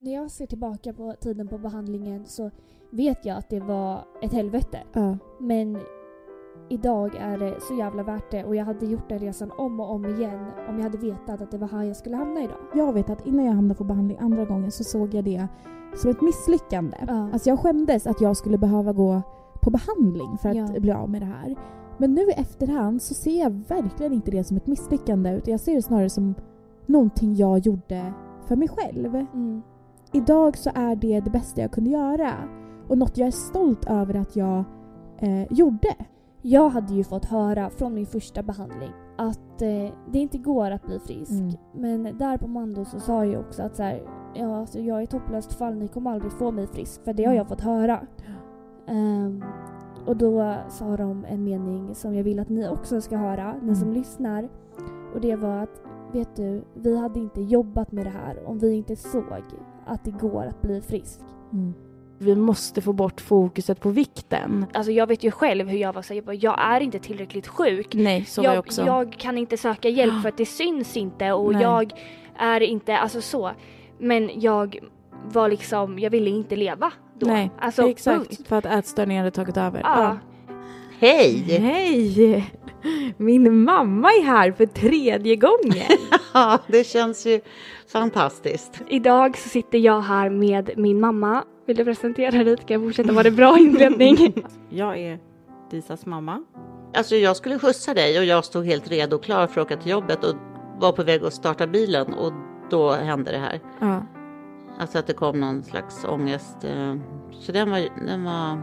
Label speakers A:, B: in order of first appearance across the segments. A: När jag ser tillbaka på tiden på behandlingen så vet jag att det var ett helvete.
B: Ja.
A: Men idag är det så jävla värt det och jag hade gjort den resan om och om igen om jag hade vetat att det var här jag skulle hamna idag.
B: Jag vet att innan jag hamnade på behandling andra gången så såg jag det som ett misslyckande.
A: Ja.
B: Alltså jag skämdes att jag skulle behöva gå på behandling för att
A: Ja.
B: bli av med det här. Men nu i efterhand så ser jag verkligen inte det som ett misslyckande utan jag ser det snarare som någonting jag gjorde för mig själv.
A: Mm.
B: Idag så är det det bästa jag kunde göra och något jag är stolt över att jag eh, gjorde.
A: Jag hade ju fått höra från min första behandling att eh, det inte går att bli frisk.
B: Mm.
A: Men där på Mando så sa jag ju också att så här, ja, alltså, jag är ett hopplöst fall, ni kommer aldrig få mig frisk. För det
C: Mm.
A: har jag fått höra. Ehm, och då sa de en mening som jag vill att ni också ska höra, ni som
B: Mm.
A: lyssnar. Och det var att, vet du, vi hade inte jobbat med det här om vi inte såg att det går att bli frisk.
D: Mm. Vi måste få bort fokuset på vikten.
C: Alltså jag vet ju själv hur jag var så här, jag, bara, jag är inte tillräckligt sjuk.
D: Nej, så var jag också.
C: jag kan inte söka hjälp för att det syns inte och
D: Nej.
C: jag är inte, alltså så. Men jag var liksom, jag ville inte leva då.
D: Nej,
C: alltså,
D: exakt.
C: punkt.
D: För att ätstörningar hade tagit över.
C: Ja.
E: Hej!
D: Hej! Min mamma är här för tredje gången.
E: Ja, det känns ju fantastiskt.
C: Idag så sitter jag här med min mamma. Vill du presentera dig? Kan jag fortsätta? Var det bra inledning?
F: Jag är Disas mamma.
E: Alltså jag skulle skjutsa dig och jag stod helt redo och klar för att åka till jobbet och var på väg att starta bilen och då hände det här.
D: ja.
E: Alltså att det kom någon slags ångest. eh, Så den var... Den var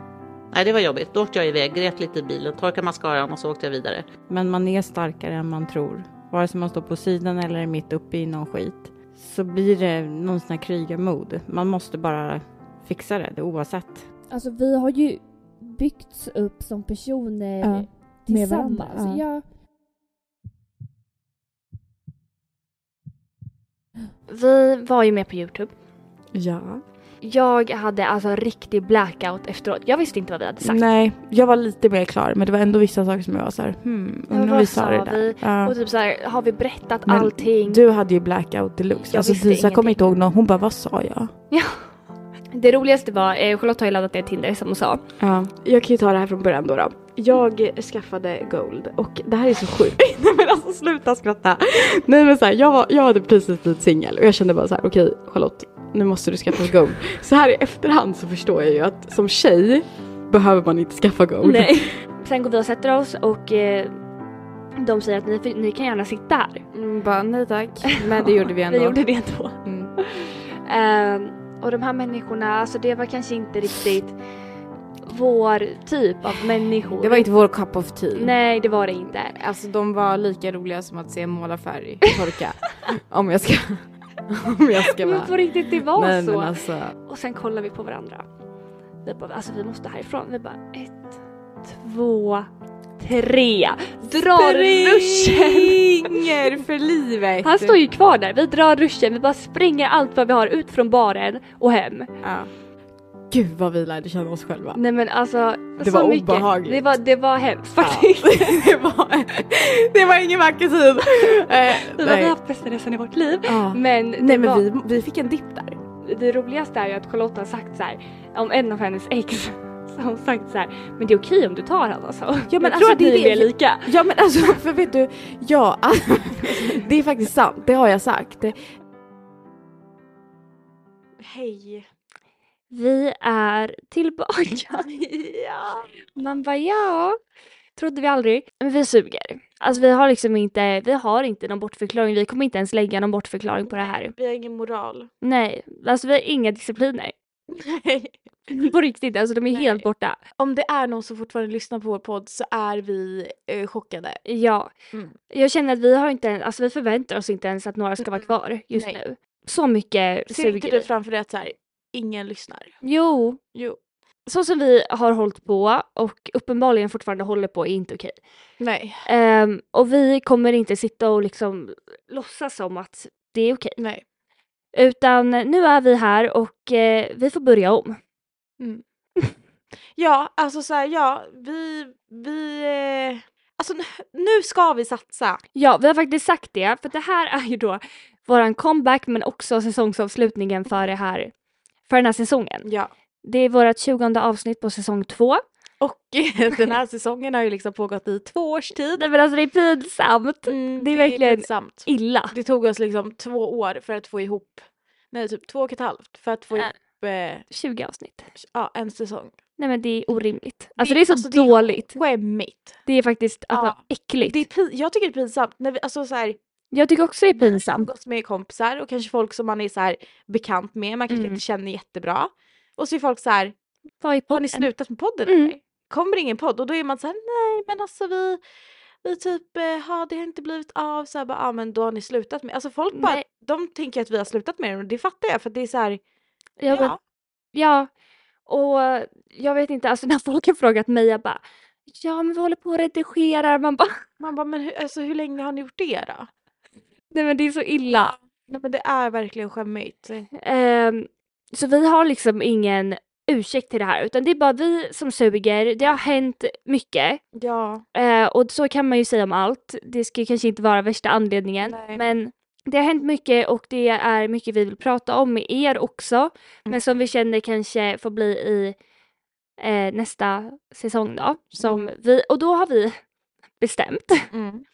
E: nej, det var jobbigt. Då åkte jag iväg, grät lite i bilen, torkade mascaran och så åkte jag vidare.
F: Men man är starkare än man tror. Vare sig man står på sidan eller är mitt uppe i någon skit. Så blir det någon sån här krigarmod. Man måste bara fixa det, det oavsett.
A: Alltså vi har ju byggts upp som personer
B: Ja, med
A: tillsammans.
B: varandra,
A: ja.
C: Vi var ju med på Youtube.
D: ja.
C: Jag hade alltså en riktig blackout efteråt. Jag visste inte vad vi hade sagt.
D: Nej, jag var lite mer klar men det var äända vissa saker som jag var så här, hmm,
C: Ja,
D: undrar om
C: vad
D: vi sa det
C: sa
D: där.
C: vi?
D: Ja.
C: Och typ så här, har vi berättat
D: Men
C: allting?
D: Du hade ju blackout deluxe.
C: Jag
D: alltså
C: visste
D: Disa kommer
C: ingenting.
D: inte ihåg någon. Hon bara, vad sa jag?
C: Det roligaste var, eh, Charlotte har ju laddat ner Tinder som hon sa.
D: Ja.
G: Jag kan ju ta det här från början då. då. Jag skaffade Gold och det här är så sjukt. Nej men alltså sluta skratta. Nej men så här, jag, var, jag hade precis blivit singel och jag kände bara så här: okej Charlotte, nu måste du skaffa Gold. Så här i efterhand så förstår jag ju att som tjej behöver man inte skaffa Gold.
C: Sen går vi och sätter oss och eh, de säger att ni, ni kan gärna sitta här.
H: mm,
G: bara nej tack. Men det gjorde vi
C: Vi gjorde det då. Ehm, och de här människorna, alltså det var kanske inte riktigt vår typ av människor.
H: Det var inte vår typ. cup of tea.
C: Nej, det var det inte.
H: Alltså de var lika roliga som att se målarfärg torka. om jag ska... om jag ska
C: Men
H: vara...
C: på riktigt, det var
H: Nej,
C: så.
H: men alltså.
C: Och sen kollar vi på varandra. Vi bara, alltså vi måste härifrån. Vi bara, ett, två, tre. Drar ruschen.
H: Springer för livet!
C: Han står ju kvar där. Vi drar ruschen. Vi bara springer allt vad vi har ut från baren och hem.
H: Ja. Mm. Gud vad vi lärde känna oss själva.
C: Nej men alltså.
H: Det
C: så
H: var
C: mycket.
H: obehagligt.
C: Det var, det var hemskt
H: Ja.
C: faktiskt.
H: det, var, det var ingen vacker tid. Eh,
C: Vi hade
H: nej.
C: haft bästa resan i vårt liv.
H: Ja.
C: Men, det,
H: nej men
C: var,
G: Mm.
H: vi, vi fick en dipp där.
C: det roligaste är ju att Charlotte har sagt så här om en av hennes ex. Så har hon sagt så här, men det är okej om du tar han alltså.
H: Ja, men
C: jag
H: alltså,
C: tror att
H: det är
C: ni är
H: det-
C: mer lika.
H: Ja men alltså för vet du, ja alltså, det är faktiskt sant, det har jag sagt.
C: Hej. Vi är tillbaka. ja. Man bara ja. Trodde vi aldrig. Men vi suger. Alltså vi har liksom inte, vi har inte någon bortförklaring. Vi kommer inte ens lägga någon bortförklaring på det här.
G: Vi har ingen moral.
C: Nej, alltså vi har inga discipliner. På riktigt, alltså de är
G: Nej.
C: helt borta.
G: Om det är någon som fortfarande lyssnar på vår podd så är vi eh, chockade.
C: Ja.
G: Mm.
C: Jag känner att vi har inte ens, alltså vi förväntar oss inte ens att några ska vara
G: Mm,
C: kvar just
G: nej.
C: nu. Så mycket
G: Ser inte
C: suger
G: du
C: vi.
G: framför dig att så här, ingen lyssnar?
C: Jo,
G: Jo.
C: så som vi har hållit på och uppenbarligen fortfarande håller på är inte okej.
G: Nej,
C: Ehm, och vi kommer inte sitta och liksom låtsas som att det är okej.
G: nej.
C: Utan nu är vi här och eh, vi får börja om.
G: Ja, alltså så här, ja, vi, vi, eh, alltså n- nu ska vi satsa.
C: Ja, vi har faktiskt sagt det, för det här är ju då våran comeback men också säsongsavslutningen för, det här, för den här säsongen.
H: Ja.
C: Det är vårt 20 avsnitt på säsong två.
H: Och den här säsongen har ju liksom pågått i två års tid.
C: Nej men alltså det är pinsamt. Mm, det är verkligen
H: pinsamt.
C: illa.
H: Det tog oss liksom två år för att få ihop, nej typ två och ett halvt för att få
C: Ja.
H: ihop eh,
C: 20 avsnitt.
H: ja, en säsong.
C: Nej men det är orimligt. Alltså det, är så dåligt.
H: Det är skämmigt.
C: Det är faktiskt alltså,
H: Ja.
C: äckligt.
H: Det är, pi- jag tycker det är pinsamt. När vi, alltså så här,
C: Jag tycker också det är pinsamt.
H: umgås med kompisar och kanske folk som man är så här bekant med, man kanske
C: Mm.
H: inte känner jättebra. Och så är folk så här,
C: Vad är
H: har ni
C: podden?
H: slutat med podden
C: Mm.
H: eller? Kommer det ingen podd? Och då är man så här, nej men alltså vi, vi typ, eh, ha, det har inte blivit av. Så här, bara, ah, men då har ni slutat med. Alltså folk bara,
C: Nej.
H: de tänker att vi har slutat med den och det fattar jag för att det är så här,
C: Jag bara, Ja, och eh, jag vet inte, alltså när folk har frågat mig, jag bara ja men vi håller på och redigerar, man bara
H: Man bara, men hur, alltså, hur länge har ni gjort det då?
C: nej men det är så illa.
H: Nej, men det är verkligen skämmigt.
C: Ehm, så vi har liksom ingen ursäkt till det här utan det är bara vi som suger, det har hänt mycket
H: Ja,
C: eh, och så kan man ju säga om allt, det ska ju kanske inte vara värsta anledningen
H: Nej.
C: men det har hänt mycket och det är mycket vi vill prata om med er också
H: Mm.
C: men som vi känner kanske får bli i eh, nästa säsong då. Som vi, och då har vi bestämt
H: Mm.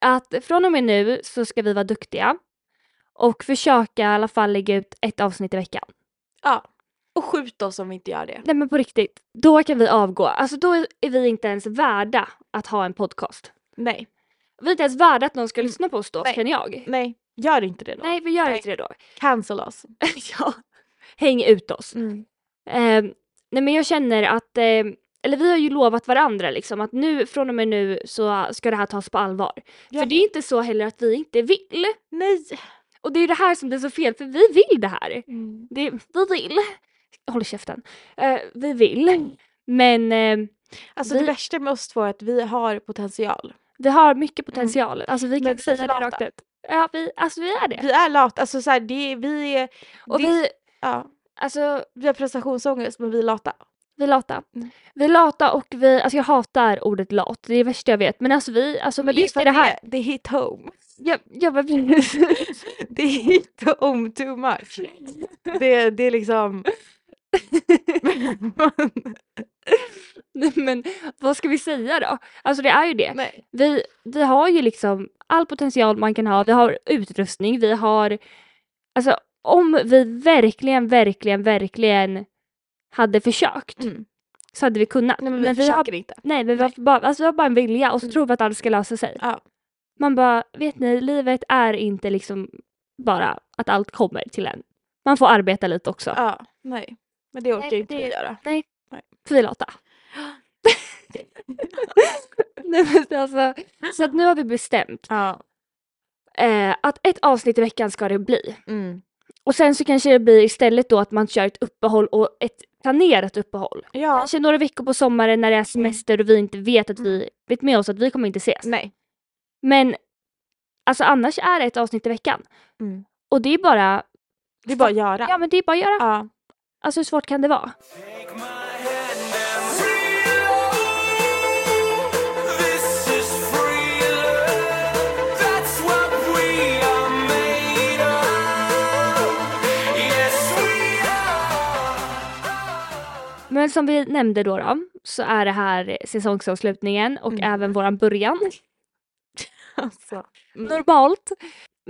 C: att från och med nu så ska vi vara duktiga och försöka i alla fall lägga ut ett avsnitt i veckan.
H: och skjut oss om vi inte gör det.
C: Nej men på riktigt, då kan vi avgå. Alltså då är vi inte ens värda att ha en podcast.
H: Nej,
C: Vi är inte ens värda att någon ska lyssna på oss då,
H: Mm. Nej.
C: känner jag.
H: nej, gör inte det då.
C: Nej, vi gör
H: Nej.
C: inte det då.
H: Cancel oss. Mm.
C: ja, häng ut oss. Eh, nej men jag känner att, eh, eller vi har ju lovat varandra liksom att nu, från och med nu så ska det här tas på allvar.
H: Ja.
C: För det är inte så heller att vi inte vill.
H: Nej,
C: Och det är det här som blir så fel, för vi vill det här.
H: Mm.
C: Det, vi vill. Håll käften. Eh, vi vill. Men eh,
H: alltså
C: Vi-
H: det värsta med oss två är att vi har potential.
C: vi har mycket potential. Alltså vi kan
H: Men vi
C: säga det
H: pratar.
C: rakt ut. Ja, vi, alltså vi är det.
H: Vi är lata, alltså så här, det, är- vi är,
C: Och
H: det-
C: vi,
H: ja,
C: alltså
H: vi har prestationsångest men vi är lata.
C: Vi är lata.
H: Mm.
C: Vi är lata och vi, alltså jag hatar ordet lat, det är det värsta jag vet. Men alltså vi, alltså men
H: är
C: just
H: för
C: i det
H: att
C: här.
H: Det, det hit home.
C: Jag, jag bara, precis.
H: Det är hit home too much. Det, det är liksom...
C: Nej, men vad ska vi säga då? Alltså det är ju det.
H: nej.
C: Vi, vi har ju liksom all potential man kan ha, vi har utrustning, vi har... Alltså om vi verkligen, verkligen, verkligen hade försökt
H: Mm.
C: så hade vi kunnat.
H: nej men vi
C: Men vi har
H: försöker inte.
C: Nej, men vi har, bara, alltså, vi har bara en vilja och så
H: Mm.
C: tror vi att allt ska lösa sig.
H: Ja.
C: Man bara, vet ni, livet är inte liksom bara att allt kommer till en. Man får arbeta lite också.
H: Ja, nej. Men det orkar
C: men
H: inte
C: det-
H: vi göra.
C: För vi är lata. Nej, men alltså, så att nu har vi bestämt
H: Ja.
C: eh, att ett avsnitt i veckan ska det bli.
H: Mm.
C: Och sen så kanske det blir istället då att man kör ett uppehåll och ett planerat uppehåll.
H: Ja.
C: Kanske några veckor på sommaren när det är semester och vi inte vet att
H: Mm.
C: vi vet med oss att vi kommer inte ses.
H: Nej.
C: Men alltså annars är det ett avsnitt i veckan.
H: Mm.
C: Och det är bara,
H: Det är bara att göra.
C: ja men det är bara att göra.
H: ja.
C: Alltså hur svårt kan det vara? Men som vi nämnde då, då så är det här säsongsavslutningen och
H: Mm.
C: även våran början.
H: Alltså.
C: Normalt.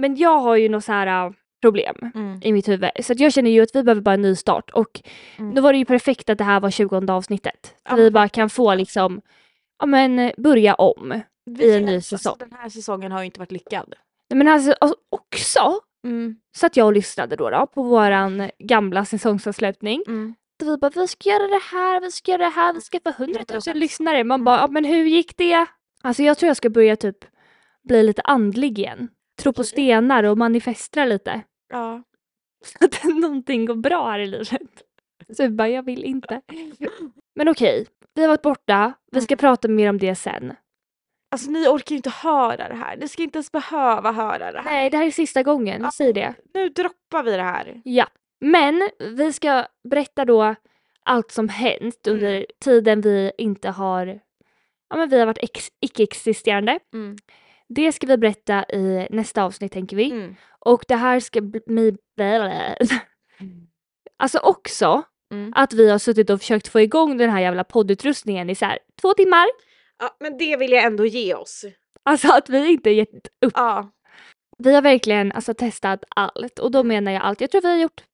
C: Men jag har ju något så här äh, problem
H: Mm.
C: i mitt huvud. Så att jag känner ju att vi behöver bara en ny start. Och
H: Mm.
C: då var det ju perfekt att det här var 20 avsnittet.
H: Ja,
C: vi
H: men
C: bara kan få liksom, ja men börja om. Nej,
H: Vi
C: en ny
H: alltså,
C: säsong.
H: Den här säsongen har ju inte varit lyckad.
C: Men alltså alltså också
H: Mm.
C: så att jag och lyssnade då, då på våran gamla säsongsavslutning.
H: Mm.
C: Och vi bara vi ska göra det här, vi ska göra det här, vi ska få 100 000 lyssnare. Man bara, ja, men hur gick det? Alltså jag tror jag ska börja typ bli lite andlig igen. Tro på stenar och manifestera lite.
H: Ja.
C: Så att någonting går bra här i livet. Så jag bara, jag vill inte. Men okej, vi har varit borta, vi ska prata mer om det sen.
H: Alltså ni orkar ju inte höra det här. Ni ska inte ens behöva höra det här.
C: Nej, det här är sista gången, säg det.
H: Nu droppar vi det här.
C: Ja, men vi ska berätta då allt som hänt
H: Mm.
C: under tiden vi inte har, ja men vi har varit ex- icke-existerande.
H: Mm.
C: Det ska vi berätta i nästa avsnitt tänker vi.
H: Mm.
C: Och det här ska bli... Alltså också
H: Mm.
C: att vi har suttit och försökt få igång den här jävla poddutrustningen i så här två timmar.
H: Ja, men det vill jag ändå ge oss.
C: Alltså att vi inte gett upp.
H: Ja.
C: Vi har verkligen alltså, testat allt och då menar jag allt. Jag tror vi har gjort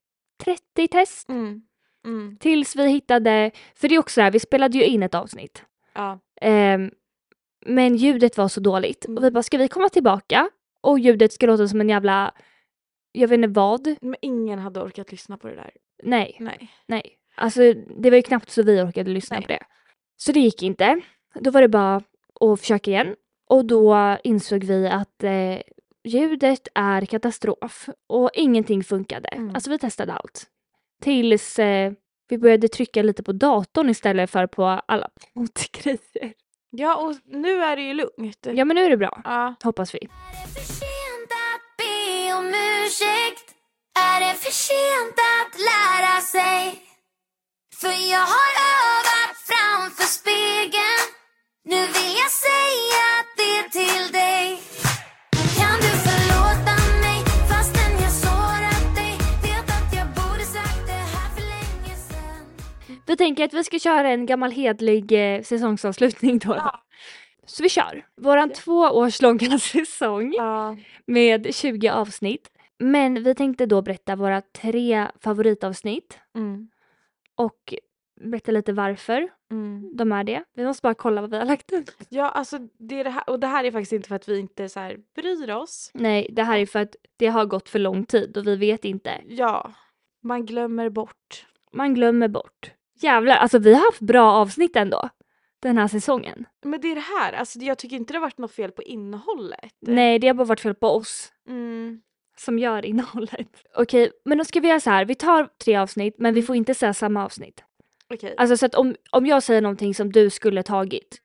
C: 30 test
H: Mm. Mm.
C: tills vi hittade, för det är också så här, vi spelade ju in ett avsnitt.
H: Ja.
C: Ehm, men ljudet var så dåligt och vi bara, ska vi komma tillbaka? Och ljudet ska låta som en jävla, jag vet inte vad.
H: Men ingen hade orkat lyssna på det där.
C: Nej,
H: Nej.
C: nej. Alltså det var ju knappt så vi orkade lyssna
H: Nej.
C: på det. Så det gick inte. Då var det bara att försöka igen. Och då insåg vi att eh, ljudet är katastrof och ingenting funkade.
H: Mm.
C: Alltså vi testade allt. Tills eh, vi började trycka lite på datorn istället för på alla poddgrejer.
H: Ja, och nu är det ju lugnt.
C: Ja men nu är det bra,
H: Ja.
C: hoppas vi.
I: Är det för sent att be om ursäkt? Är det för sent att lära sig? För jag har övat framför spegeln Nu vill jag säga det till dig Kan du förlåta mig fastän jag sårat dig? Vet att jag borde sagt det här för länge sen
C: Vi tänker att vi ska köra en gammal hedlig eh, säsongsavslutning då. Så vi kör. Våran två års långa säsong
H: Ja.
C: med 20 avsnitt. Men vi tänkte då berätta våra tre favoritavsnitt
H: Mm.
C: och berätta lite varför
H: Mm.
C: de är det. Vi måste bara kolla vad vi har lagt ut.
H: Ja, alltså det, är det här, och det här är faktiskt inte för att vi inte så här bryr oss.
C: Nej, det här är för att det har gått för lång tid och vi vet inte.
H: Ja, man glömmer bort.
C: Man glömmer bort. Jävlar, alltså vi har haft bra avsnitt ändå den här säsongen.
H: Men det är det här, alltså jag tycker inte det har varit något fel på innehållet.
C: Nej, det har bara varit fel på oss.
H: Mm.
C: som gör innehållet. Mm. Okej, men då ska vi göra så här. Vi tar tre avsnitt, men vi får inte säga samma avsnitt.
H: Okej.
C: Alltså så att om, om jag säger någonting som du skulle tagit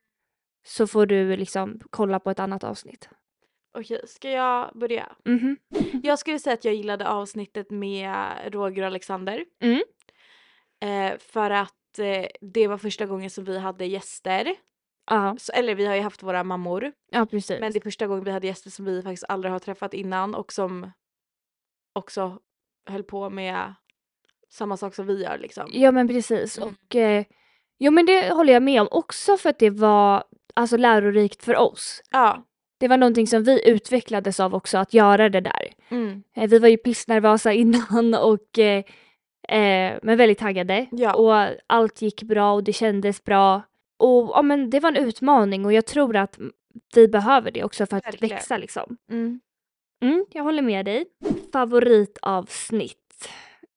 C: så får du liksom kolla på ett annat avsnitt.
H: Okej, ska jag börja?
C: Mhm.
H: Jag skulle säga att jag gillade avsnittet med Roger och Alexander.
C: Mm.
H: Eh, för att eh, det var första gången som vi hade gäster.
C: Ja,
H: Så, eller vi har ju haft våra mammor.
C: ja precis.
H: Men det är första gången vi hade gäster som vi faktiskt aldrig har träffat innan och som också höll på med samma sak som vi gör liksom.
C: Ja men precis.
H: Mm.
C: Och eh, jo men det håller jag med om också för att det var alltså lärorikt för oss.
H: Ja.
C: Det var någonting som vi utvecklades av också att göra det där.
H: Mm.
C: Eh, Vi var ju pissnervösa innan och eh, eh, men väldigt taggade.
H: Ja.
C: Och allt gick bra och det kändes bra. Och ja, men det var en utmaning och jag tror att vi behöver det också för att
H: Verkligen.
C: växa liksom.
H: Mm.
C: Mm, jag håller med dig. Favoritavsnitt,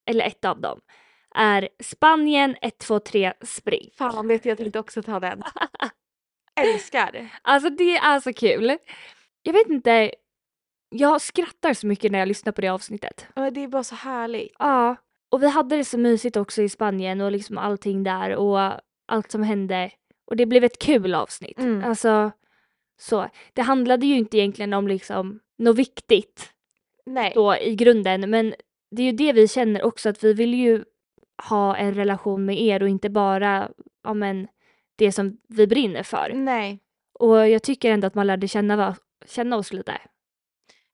C: eller ett av dem, är Spanien 1, 2, 3 spring.
H: Fan vet jag tänkte också ta den. Älskar.
C: Alltså det är så kul. Jag vet inte, jag skrattar så mycket när jag lyssnar på det avsnittet.
H: Ja, men Det är bara så härligt.
C: Ja, och vi hade det så mysigt också i Spanien och liksom allting där och allt som hände. Och det blev ett kul avsnitt.
H: Mm.
C: Alltså, så. Det handlade ju inte egentligen om liksom något viktigt
H: Nej.
C: då i grunden, men det är ju det vi känner också att vi vill ju ha en relation med er och inte bara ja, men, det som vi brinner för.
H: Nej.
C: Och jag tycker ändå att man lärde känna, va- känna oss lite.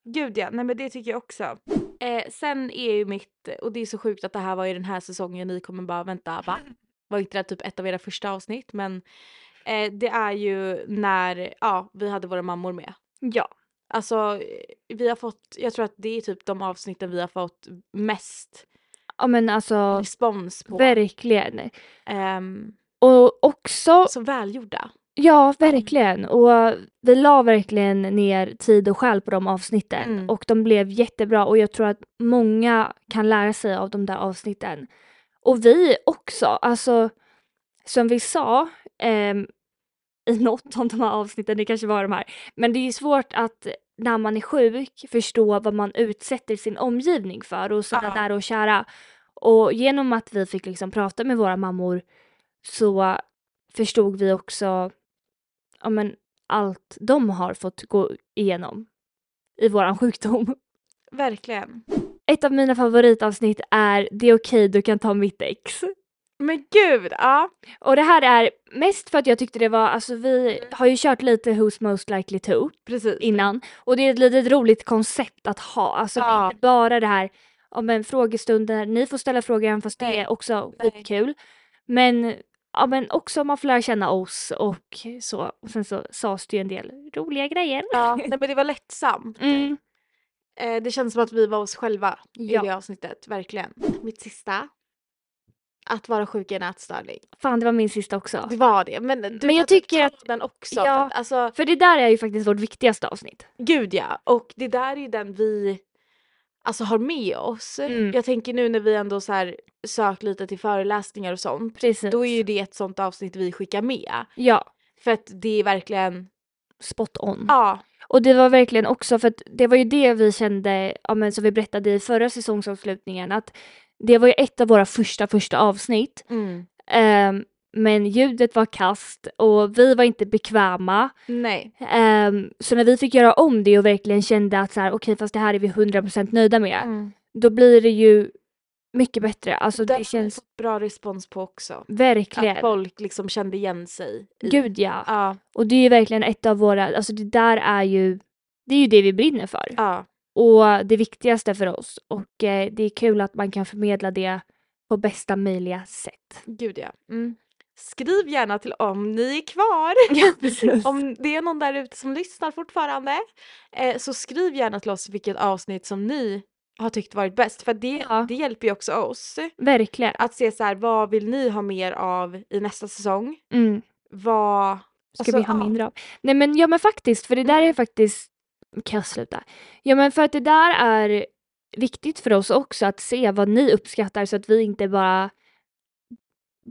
H: Gud ja, nej men det tycker jag också. Eh, sen är ju mitt, och det är så sjukt att det här var i den här säsongen, ni kommer bara vänta va? Var inte det här typ ett av era första avsnitt? Men eh, det är ju när, ja, vi hade våra mammor med.
C: Ja.
H: Alltså eh, vi har fått, jag tror att det är typ de avsnitten vi har fått mest
C: ja, men alltså
H: respons på.
C: verkligen.
H: Ehm,
C: Och också
H: så välgjorda. Mm.
C: Ja, verkligen. Och vi la verkligen ner tid och själ på de avsnitten
H: Mm.
C: och de blev jättebra och jag tror att många kan lära sig av de där avsnitten. Och vi också, alltså som vi sa ehm, i något av de här avsnitten, det kanske var de här, men det är ju svårt att när man är sjuk förstå vad man utsätter sin omgivning för och sådana
H: Ja.
C: där och kära. Och genom att vi fick liksom prata med våra mammor så förstod vi också ja, men, allt de har fått gå igenom i våran sjukdom.
H: Verkligen.
C: Ett av mina favoritavsnitt är Det är okej, du kan ta mitt ex.
H: Men gud, ja.
C: Och det här är mest för att jag tyckte det var, alltså vi har ju kört lite Who's Most Likely To
H: Precis.
C: innan och det är ett litet roligt koncept att ha, alltså det är
H: Ja.
C: inte bara det här om en frågestund där ni får ställa frågor även fast det
H: Nej.
C: är också
H: Nej.
C: skitkul. Men, ja, men också man får lära känna oss och så. Och sen så sades det ju en del roliga grejer.
H: ja. Nej, men det var lättsamt.
C: Mm.
H: Eh, det känns som att vi var oss själva
C: Ja.
H: i det avsnittet, verkligen. Mitt sista. Att vara sjuk i en ätstörning.
C: Fan, det var min sista också.
H: Det var det. Men, du
C: Men jag
H: måste
C: tycker
H: ta
C: att-
H: Den också.
C: Ja.
H: Alltså,
C: För det där är ju faktiskt vårt viktigaste avsnitt.
H: gud ja. Och det där är ju den vi alltså, har med oss.
C: Mm.
H: Jag tänker nu när vi ändå så här, sökt lite till föreläsningar och sånt.
C: Precis.
H: Då är ju det ett sånt avsnitt vi skickar med.
C: Ja,
H: För att det är verkligen,
C: spot on.
H: ja,
C: Och det var verkligen också för att det var ju det vi kände, ja, men som vi berättade i förra säsongsavslutningen, att det var ju ett av våra första, första avsnitt.
H: Mm.
C: Ehm, men ljudet var kast och vi var inte bekväma.
H: nej.
C: Ehm, så när vi fick göra om det och verkligen kände att så här, okej, fast det här är vi 100% nöjda med,
H: Mm.
C: då blir det ju mycket bättre. Alltså
H: Den har
C: det
H: vi
C: känns
H: fått bra respons på också.
C: verkligen.
H: Att folk liksom kände igen sig. i-
C: Gud ja.
H: Ja,
C: Och det är ju verkligen ett av våra, alltså det där är ju, det är ju det vi brinner för.
H: ja.
C: Och det viktigaste för oss. Och eh, det är kul att man kan förmedla det på bästa möjliga sätt.
H: Gud ja. Skriv gärna till om ni är kvar. om det är någon där ute som lyssnar fortfarande eh, så skriv gärna till oss vilket avsnitt som ni har tyckt varit bäst för det,
C: Ja.
H: det hjälper ju också oss
C: Verkligen.
H: att se så här vad vill ni ha mer av i nästa säsong?
C: Mm.
H: Vad
C: Ska
H: Alltså,
C: vi ha
H: ja. Mm.
C: mindre av? Nej men ja men faktiskt, för det där är faktiskt... Kan jag sluta? Ja men för att det där är viktigt för oss också att se vad ni uppskattar så att vi inte bara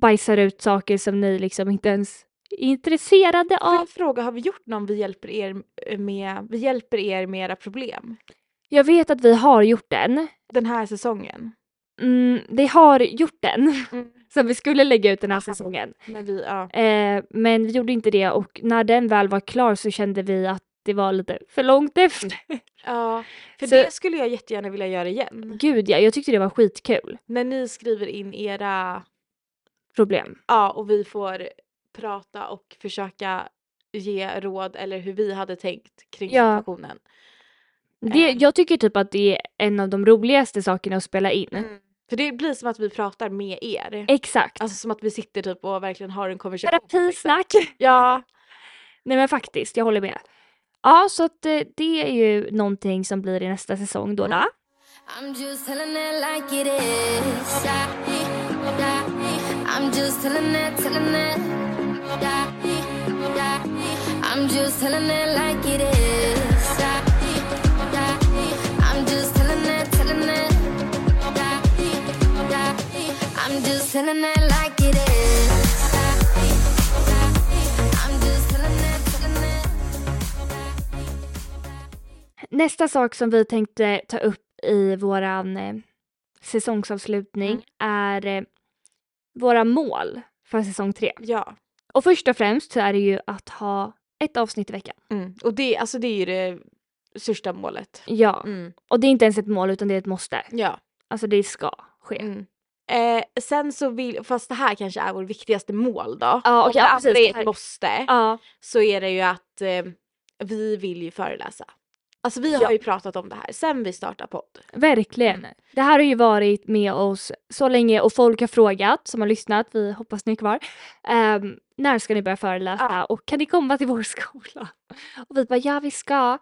C: bajsar ut saker som ni liksom inte ens är intresserade
H: för
C: av.
H: fråga har vi gjort någon vi hjälper er med? Vi hjälper er med era problem
C: Jag vet att vi har gjort den.
H: den här säsongen.
C: Mm, vi har gjort den
H: Mm.
C: som vi skulle lägga ut den här säsongen.
H: När vi, ja.
C: Eh, men vi gjorde inte det och när den väl var klar så kände vi att det var lite för långt efter.
H: Mm. ja, för
C: Så-
H: det skulle jag jättegärna vilja göra igen.
C: Gud ja, jag tyckte det var skitkul.
H: När ni skriver in era
C: Problem.
H: Ja, och vi får prata och försöka ge råd eller hur vi hade tänkt kring
C: Ja.
H: situationen.
C: Det,
H: Eh.
C: jag tycker typ att det är en av de roligaste sakerna att spela in.
H: För det blir som att vi pratar med er.
C: Exakt.
H: Mm. Alltså som att vi sitter typ och verkligen har en konversation.
C: Terapisnack.
H: Ja,
C: Nej men faktiskt, jag håller med. Ja, så att eh, det är ju någonting som blir i nästa säsong
H: Mm.
C: då. då.
I: I'm just telling it like it is. I'm just telling it, telling it. I'm just telling it like it is. I'm just telling it, telling it. I'm just telling it like it is. I'm just telling it, telling it.
C: Nästa sak som vi tänkte ta upp i våran eh, säsongsavslutning
H: Mm.
C: är eh, våra mål för säsong tre.
H: ja.
C: Och först och främst så är det ju att ha ett avsnitt i veckan.
H: Mm. Och det, alltså det är ju det största målet.
C: Ja,
H: Mm.
C: och det är inte ens ett mål utan det är ett måste.
H: Ja.
C: Alltså det ska ske.
H: Mm. Eh, sen så vill, fast det här kanske är vårt viktigaste mål då.
C: Ja,
H: Om
C: okej,
H: det
C: ja,
H: andra
C: precis.
H: är
C: Det här-
H: ett måste.
C: Ja,
H: så är det ju att eh, vi vill ju föreläsa. Alltså vi har
C: Ja.
H: ju pratat om det här sen vi startade podd.
C: verkligen. Det här har ju varit med oss så länge och folk har frågat som har lyssnat, vi hoppas ni är kvar. Ehm, när ska ni börja föreläsa och kan ni komma till vår skola? Och vi bara ja, vi ska.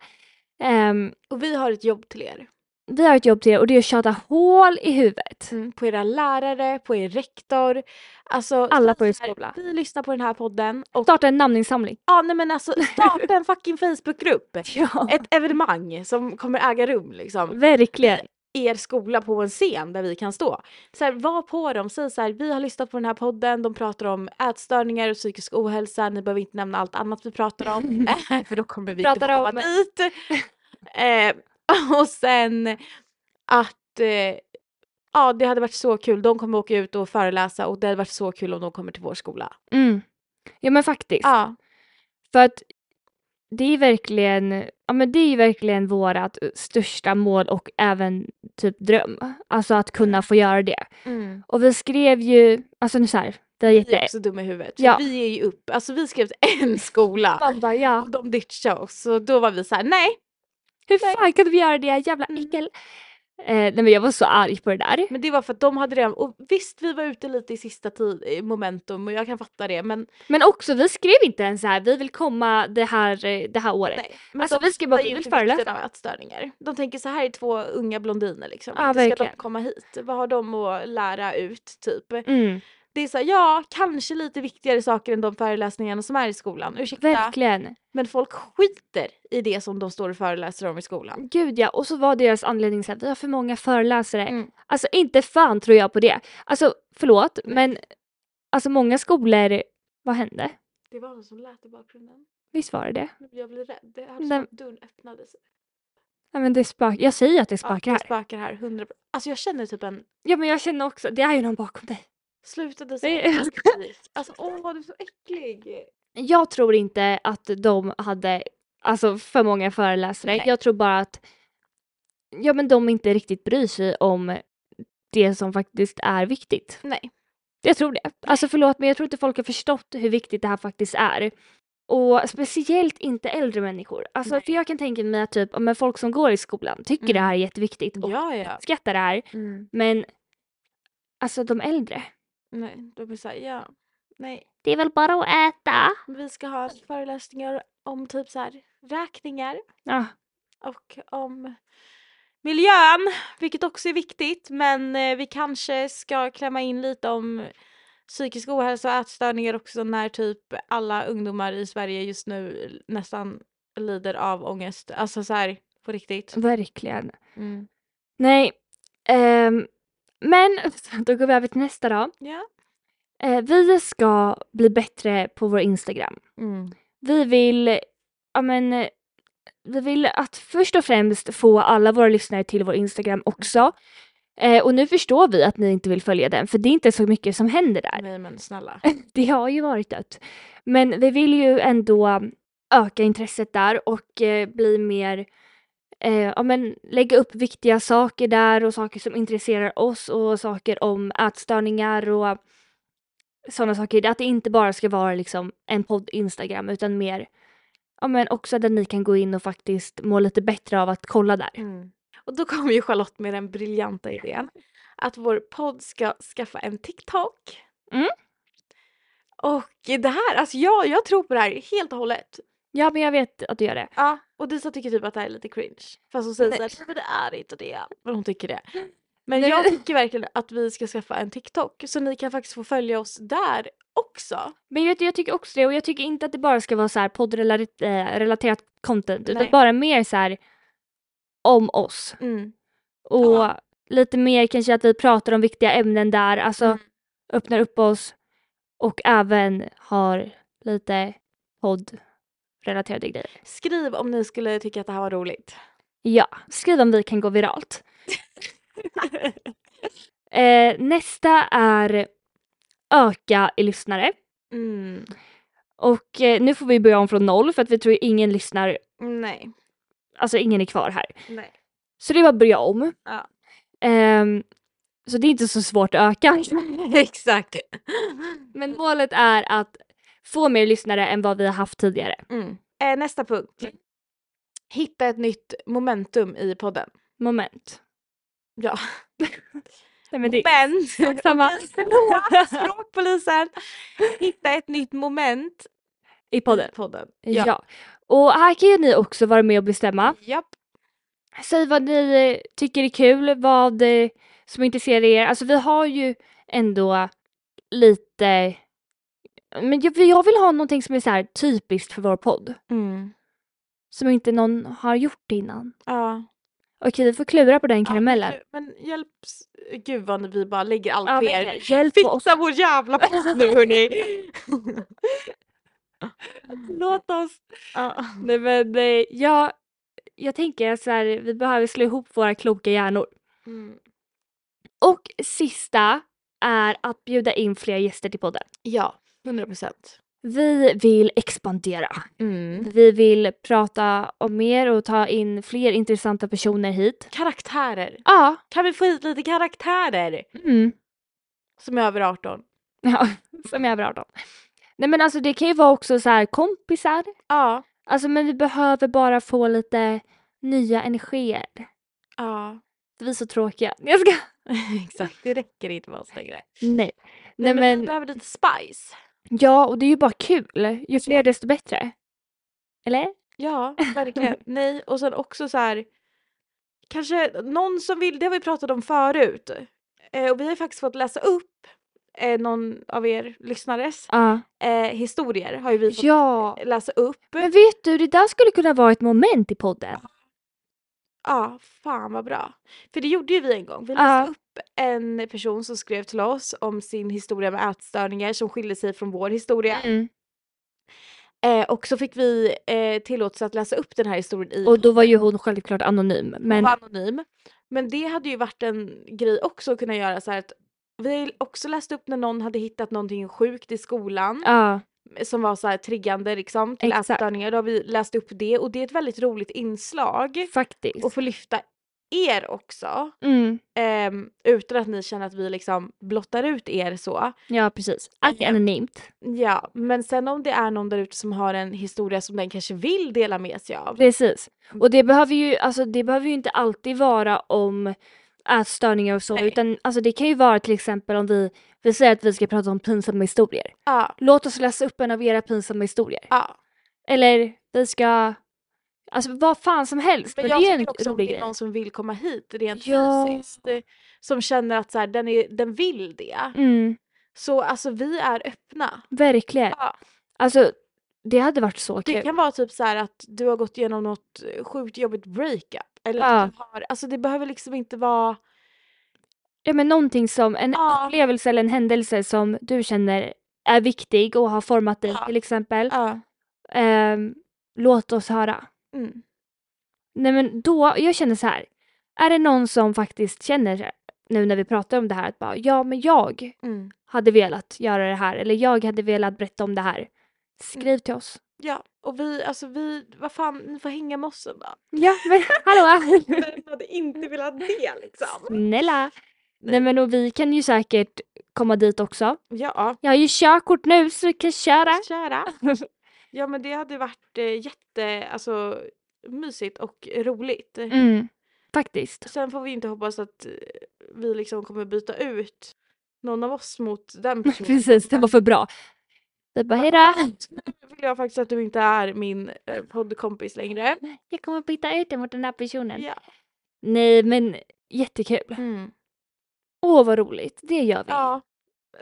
C: Ehm,
H: Och vi har ett jobb till er.
C: vi har ett jobb till er och det är att tjata hål i huvudet.
H: På era lärare, på er rektor. Alltså,
C: Alla på er
H: så här,
C: skola.
H: Vi lyssnar på den här podden och
C: Starta en namninsamling.
H: ja, nej, men alltså, starta en fucking Facebookgrupp.
C: Ja,
H: Ett evenemang som kommer äga rum liksom.
C: verkligen.
H: Er skola på en scen där vi kan stå. Så här, var på dem, säg så här, vi har lyssnat på den här podden, de pratar om ätstörningar och psykisk ohälsa, ni behöver inte nämna allt annat vi pratar om. för då kommer vi
C: Pratar
H: inte komma
C: om-
H: dit. Eh, och sen att eh, ja, det hade varit så kul. De kommer åka ut och föreläsa och det hade varit så kul om de kommer till vår skola.
C: Mm. Ja men faktiskt.
H: Ja,
C: För att det är verkligen, ja men det är ju verkligen vårat största mål och även typ dröm. Alltså att kunna få göra det.
H: Mm.
C: Och vi skrev ju, alltså nu så här, det är
H: Vi är
C: jätte...
H: också dumma i huvudet. för
C: Ja.
H: Vi är ju upp, alltså vi skrev till en skola
C: Man bara, ja.
H: och de ditchade oss så då var vi så här: nej.
C: Hur fan kunde vi göra det jävla
H: Mm.
C: äckel? Eh, nej men jag var så arg på det där.
H: Men det var för att de hade redan, och visst vi var ute lite i sista tid, i momentum och jag kan fatta det men,
C: Men också vi skrev inte ens så här, vi vill komma det här, eh, det här året.
H: nej, men
C: Alltså,
H: de
C: vi ska bara
H: fattar ju
C: ut
H: inte
C: föreläsa.
H: vikten av ätstörningar. De tänker så här är två unga blondiner liksom,
C: Ja,
H: inte ska de
C: verkligen.
H: komma hit? Vad har de att lära ut typ?
C: Mm,
H: Det är så här, ja kanske lite viktigare saker än de föreläsningarna som är i skolan, ursäkta.
C: verkligen.
H: Men folk skiter i det som de står och föreläser om i skolan.
C: Gud ja, och så var deras anledning så här, vi har för många föreläsare.
H: Mm.
C: Alltså inte fan tror jag på det. Alltså förlåt, men alltså många skolor, vad hände?
H: Det var någon som lät i bakgrunden.
C: Visst var det det?
H: Jag blev rädd. Det här
C: som Nej. att
H: dörren öppnades.
C: Nej men det spökar, jag säger att det spökar
H: ja,
C: här.
H: det spökar här. 100%. Alltså jag känner typ en
C: Ja men jag känner också, det är ju någon bakom dig.
H: slutade
C: Nej,
H: sig.
C: jag
H: Alltså åh du är så äcklig.
C: Jag tror inte att de hade alltså, för många föreläsare. Jag tror bara att ja, men de inte riktigt bryr sig om det som faktiskt är viktigt.
H: Nej.
C: Jag tror det. Alltså förlåt men jag tror inte folk har förstått hur viktigt det här faktiskt är. Och speciellt inte äldre människor. Alltså, för jag kan tänka mig att typ, ja, men folk som går i skolan tycker det
H: Mm.
C: här är jätteviktigt och
H: Ja ja.
C: skattar det här.
H: mm.
C: Men alltså de äldre,
H: Nej, de blir såhär ja. Nej,
C: det är väl bara att äta.
H: vi ska ha föreläsningar om typ så här räkningar
C: Ja,
H: och om miljön, vilket också är viktigt. Men eh, vi kanske ska klämma in lite om psykisk ohälsa och ätstörningar också när typ alla ungdomar i Sverige just nu nästan lider av ångest. Alltså så här på riktigt.
C: verkligen.
H: Mm.
C: Nej. ehm, men då går vi över till nästa då.
H: Ja.
C: Eh, vi ska bli bättre på vår Instagram.
H: Mm.
C: Vi vill, ja men, eh, vi vill att först och främst få alla våra lyssnare till vår Instagram också. Eh, och nu förstår vi att ni inte vill följa den för det är inte så mycket som händer där.
H: Nej men snälla.
C: Det har ju varit dött. Men vi vill ju ändå öka intresset där och eh, bli mer, eh, ja men lägga upp viktiga saker där och saker som intresserar oss och saker om ätstörningar och sådana saker. Att det inte bara ska vara liksom en podd Instagram utan mer, ja men också där ni kan gå in och faktiskt må lite bättre av att kolla där.
H: Och då kom ju Charlotte med den briljanta idén att vår podd ska skaffa en TikTok.
C: Mm.
H: Och det här, alltså jag, jag tror på det här helt och hållet.
C: Ja men jag vet att du gör det.
H: Ja, och Disa tycker typ att det här är lite cringe. Fast hon säger
C: Nej.
H: såhär, men det är inte det. Men hon tycker det. Men
C: Nej,
H: jag
C: men-
H: tycker verkligen att vi ska skaffa en TikTok så ni kan faktiskt få följa oss där också.
C: Men jag, jag tycker också det och jag tycker inte att det bara ska vara så här poddrelaterat eh, relaterat content utan
H: Nej.
C: bara mer så här om oss och
H: Ja.
C: lite mer kanske att vi pratar om viktiga ämnen där, alltså
H: Mm.
C: öppnar upp oss och även har lite poddrelaterade grejer.
H: Skriv om ni skulle tycka att det här var roligt.
C: Ja, skriv om vi kan gå viralt. Eh, nästa är öka i lyssnare
H: Mm.
C: och eh, nu får vi börja om från noll för att vi tror ju ingen lyssnar,
H: Nej.
C: alltså ingen är kvar här.
H: Nej.
C: Så det var börja om.
H: Ja.
C: Ehm, så det är inte så svårt att öka.
H: Exakt.
C: Men målet är att få mer lyssnare än vad vi har haft tidigare.
H: Mm. Eh, nästa punkt.
C: Mm.
H: Hitta ett nytt momentum i podden.
C: Moment.
H: Ja.
C: Nej, men det
H: Men,
C: samma.
H: språkpolisen, hitta ett nytt moment
C: I podden.
H: i podden.
C: Ja. Och här kan ju ni också vara med och bestämma.
H: Japp.
C: Säg vad ni eh, tycker är kul, vad eh, som intresserar er. Alltså vi har ju ändå lite... Men jag, jag vill ha någonting som är så här typiskt för vår podd.
H: Mm.
C: Som inte någon har gjort innan.
H: Ja.
C: Okej, vi får klura på den karamellen.
H: Ja, men gud- Men hjälp, gud vad vi bara lägger allt
C: Ja,
H: på
C: verkligen.
H: er.
C: Hjälp oss.
H: Fixa vår jävla post nu hörni.
C: Låt oss.
H: ja.
C: Nej men eh, jag, jag tänker så här, vi behöver slå ihop våra kloka hjärnor.
H: Mm.
C: Och sista är att bjuda in fler gäster till podden.
H: ja, 100 procent.
C: Vi vill expandera. Vi vill prata om mer och ta in fler intressanta personer hit.
H: Karaktärer.
C: Ja.
H: Kan vi få hit lite karaktärer
C: Mm.
H: som är över 18?
C: ja som är över 18. Nej men alltså det kan ju vara också så här kompisar.
H: Ja.
C: Alltså men vi behöver bara få lite nya energier.
H: Ja.
C: Vi är så tråkiga. Jag ska...
H: Exakt, det räcker inte med oss längre.
C: Nej. Nej
H: Nej, men vi
C: men
H: behöver lite spice.
C: ja och det är ju bara kul. Ju fler desto bättre. Eller?
H: Ja, verkligen. Nej, och sen också så här. Kanske någon som vill, det har vi pratat om förut. Eh, och vi har ju faktiskt fått läsa upp eh, någon av er lyssnares
C: Ja.
H: eh, historier. Har ju vi fått
C: Ja.
H: läsa upp.
C: Men vet du det där skulle kunna vara ett moment i podden.
H: Ja, fan vad bra. För det gjorde ju vi en gång. Vi
C: Ja.
H: läste upp en person som skrev till oss om sin historia med ätstörningar som skilde sig från vår historia.
C: Mm.
H: Eh, och så fick vi eh, tillåtelse att läsa upp den här historien i
C: Och då var ju hon självklart anonym. Men
H: men... anonym. Men det hade ju varit en grej också att kunna göra så här att vi har ju också läst upp när någon hade hittat någonting sjukt i skolan
C: ja.
H: som var så här triggande liksom till
C: Exakt.
H: ätstörningar. Då har vi läst upp det och det är ett väldigt roligt inslag
C: Faktiskt.
H: och få lyfta er också
C: Mm.
H: ehm, utan att ni känner att vi liksom blottar ut er så.
C: Ja precis. Allt är anonymt.
H: Ja, men sen om det är någon där ute som har en historia som den kanske vill dela med sig av.
C: Precis. Och det behöver ju, alltså, det behöver ju inte alltid vara om ätstörningar och så
H: Nej.
C: utan alltså, det kan ju vara till exempel om vi, vi säger att vi ska prata om pinsamma historier.
H: Ja,
C: Låt oss läsa upp en av era pinsamma historier.
H: ja.
C: Eller vi ska, alltså vad fan som helst.
H: Men
C: Men
H: jag
C: det är en
H: tycker också om
C: rolig
H: det är
C: grej.
H: någon som vill komma hit rent
C: Ja.
H: fysiskt. eh, Som känner att så här, den, är, den vill det.
C: Mm,
H: Så alltså vi är öppna.
C: verkligen.
H: Ja.
C: Alltså det hade varit så
H: Det
C: kul.
H: kan vara typ så här att du har gått igenom något eh, sjukt jobbigt breakup. Eller att du har, alltså det behöver liksom inte vara,
C: Ja men någonting som, en
H: Ja.
C: upplevelse eller en händelse som du känner är viktig och har format dig
H: Ja.
C: till exempel.
H: ja.
C: Ehm, låt oss höra.
H: Mm.
C: Nej men då, jag känner så här. Är det någon som faktiskt känner nu när vi pratar om det här att bara ja men jag
H: Mm.
C: hade velat göra det här eller jag hade velat berätta om det här.
H: Mm.
C: Skriv till oss.
H: Ja, och vi, alltså vi, vad fan, ni får hänga med oss då.
C: Ja men hallå!
H: Vem hade inte velat det liksom?
C: Snälla! Nej men och vi kan ju säkert komma dit också.
H: Ja,
C: Jag har ju körkort nu så vi kan köra.
H: kära. Ja men det hade varit eh, jätte, alltså mysigt och roligt.
C: Mm, faktiskt.
H: Sen får vi inte hoppas att eh, vi liksom kommer byta ut någon av oss mot den personen.
C: Precis, det var för bra. Vi bara hejdå!
H: Nu vill jag faktiskt att du inte är min eh, poddkompis längre.
C: Jag kommer byta ut dig mot den här personen.
H: Ja.
C: Nej men jättekul. Åh vad roligt, det gör vi.
H: ja.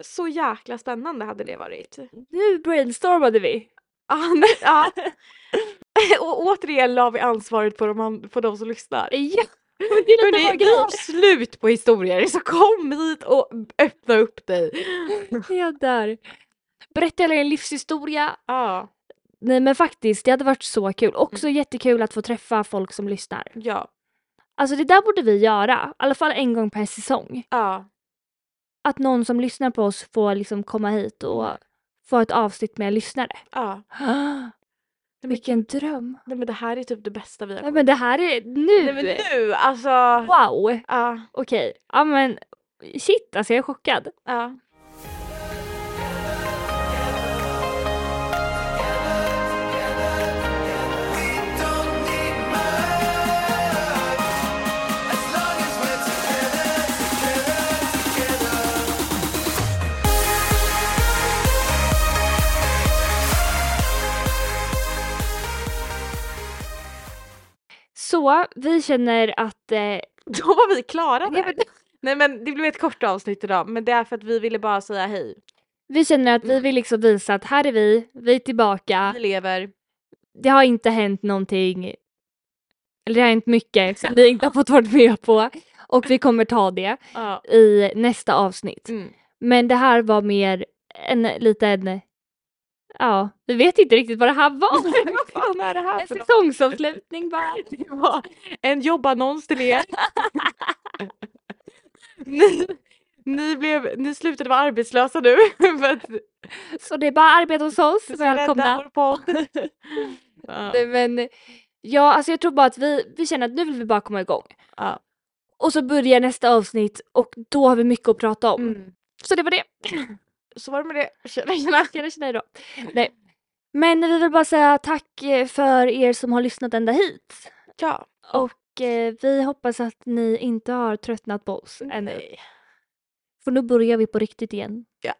H: Så jäkla spännande hade det varit.
C: Nu brainstormade vi.
H: Ah, nej, ja. Och återigen la vi ansvaret på de, an- på de som lyssnar.
C: Ja, men det är
H: Hörni,
C: lite
H: vi har slut på historier så kom hit och öppna upp dig.
C: Jag där. Berätta hela din livshistoria.
H: Ja,
C: Nej men faktiskt, det hade varit så kul. Också jättekul att få träffa folk som lyssnar.
H: ja,
C: Alltså det där borde vi göra, i alla fall en gång per säsong.
H: ja,
C: Att någon som lyssnar på oss får liksom komma hit och få ett avsnitt med lyssnare.
H: ja. men-
C: Vilken dröm!
H: Nej men det här är typ det bästa vi har
C: Nej men det här är
H: Nej
C: nu!
H: men nu alltså.
C: Wow!
H: Ja,
C: Okej, ja men shit alltså jag är chockad.
H: ja.
C: Så vi känner att eh,
H: Då var vi klara
C: Nej,
H: där. Nej men det blev ett kort avsnitt idag men det är för att vi ville bara säga hej.
C: vi känner att vi vill liksom visa att här är vi, vi är tillbaka.
H: Vi lever.
C: det har inte hänt någonting, eller det har hänt mycket som vi inte har fått vara med på och vi kommer ta det
H: Ja.
C: i nästa avsnitt.
H: Mm.
C: Men det här var mer en liten, ja, vi vet inte riktigt vad det här var.
H: Vad fan är det här
C: en
H: för något?
C: säsongsavslutning bara.
H: Det var en jobbannons till er. ni, Ni, blev, ni slutade vara arbetslösa nu. för att
C: Så det är bara arbete hos oss. Välkomna.
H: rädda vår podd. ja.
C: Nej, men ja, alltså jag tror bara att vi, vi känner att nu vill vi bara komma igång.
H: Ja.
C: Och så börjar nästa avsnitt och då har vi mycket att prata om.
H: Mm.
C: Så det var det.
H: Så var det med det. Tjena, tjena.
C: Tjena, tjena, tjena idag. Nej. Men vi vill bara säga tack eh, för er som har lyssnat ända hit.
H: Ja.
C: Och eh, vi hoppas att ni inte har tröttnat på oss ännu.
H: Nej.
C: För nu börjar vi på riktigt igen.
H: Ja.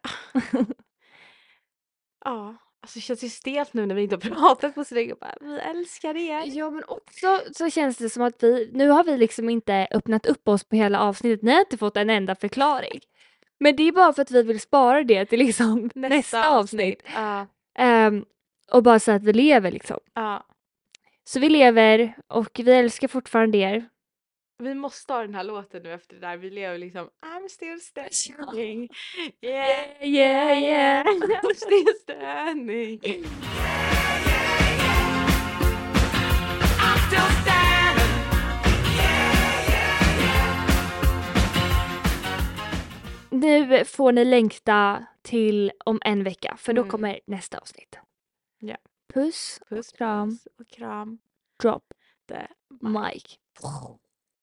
H: Alltså det känns ju stelt nu när vi inte har pratat på så länge. Bara, Vi älskar er.
C: Ja men också så känns det som att vi, nu har vi liksom inte öppnat upp oss på hela avsnittet, ni har inte fått en enda förklaring. Men det är bara för att vi vill spara det till liksom nästa, avsnitt.
H: Ja.
C: Ehm, och bara så att vi lever liksom.
H: ja.
C: Så vi lever och vi älskar fortfarande er.
H: Vi måste ha den här låten nu efter det där. Vi lever liksom I'm still standing. Yeah, yeah, yeah. I'm still standing.
C: Nu får ni längta till om en vecka för då
H: Mm.
C: kommer nästa avsnitt.
H: Ja.
C: Puss,
H: Puss,
C: Kram.
H: puss och kram.
C: drop,
H: Det-
C: mic.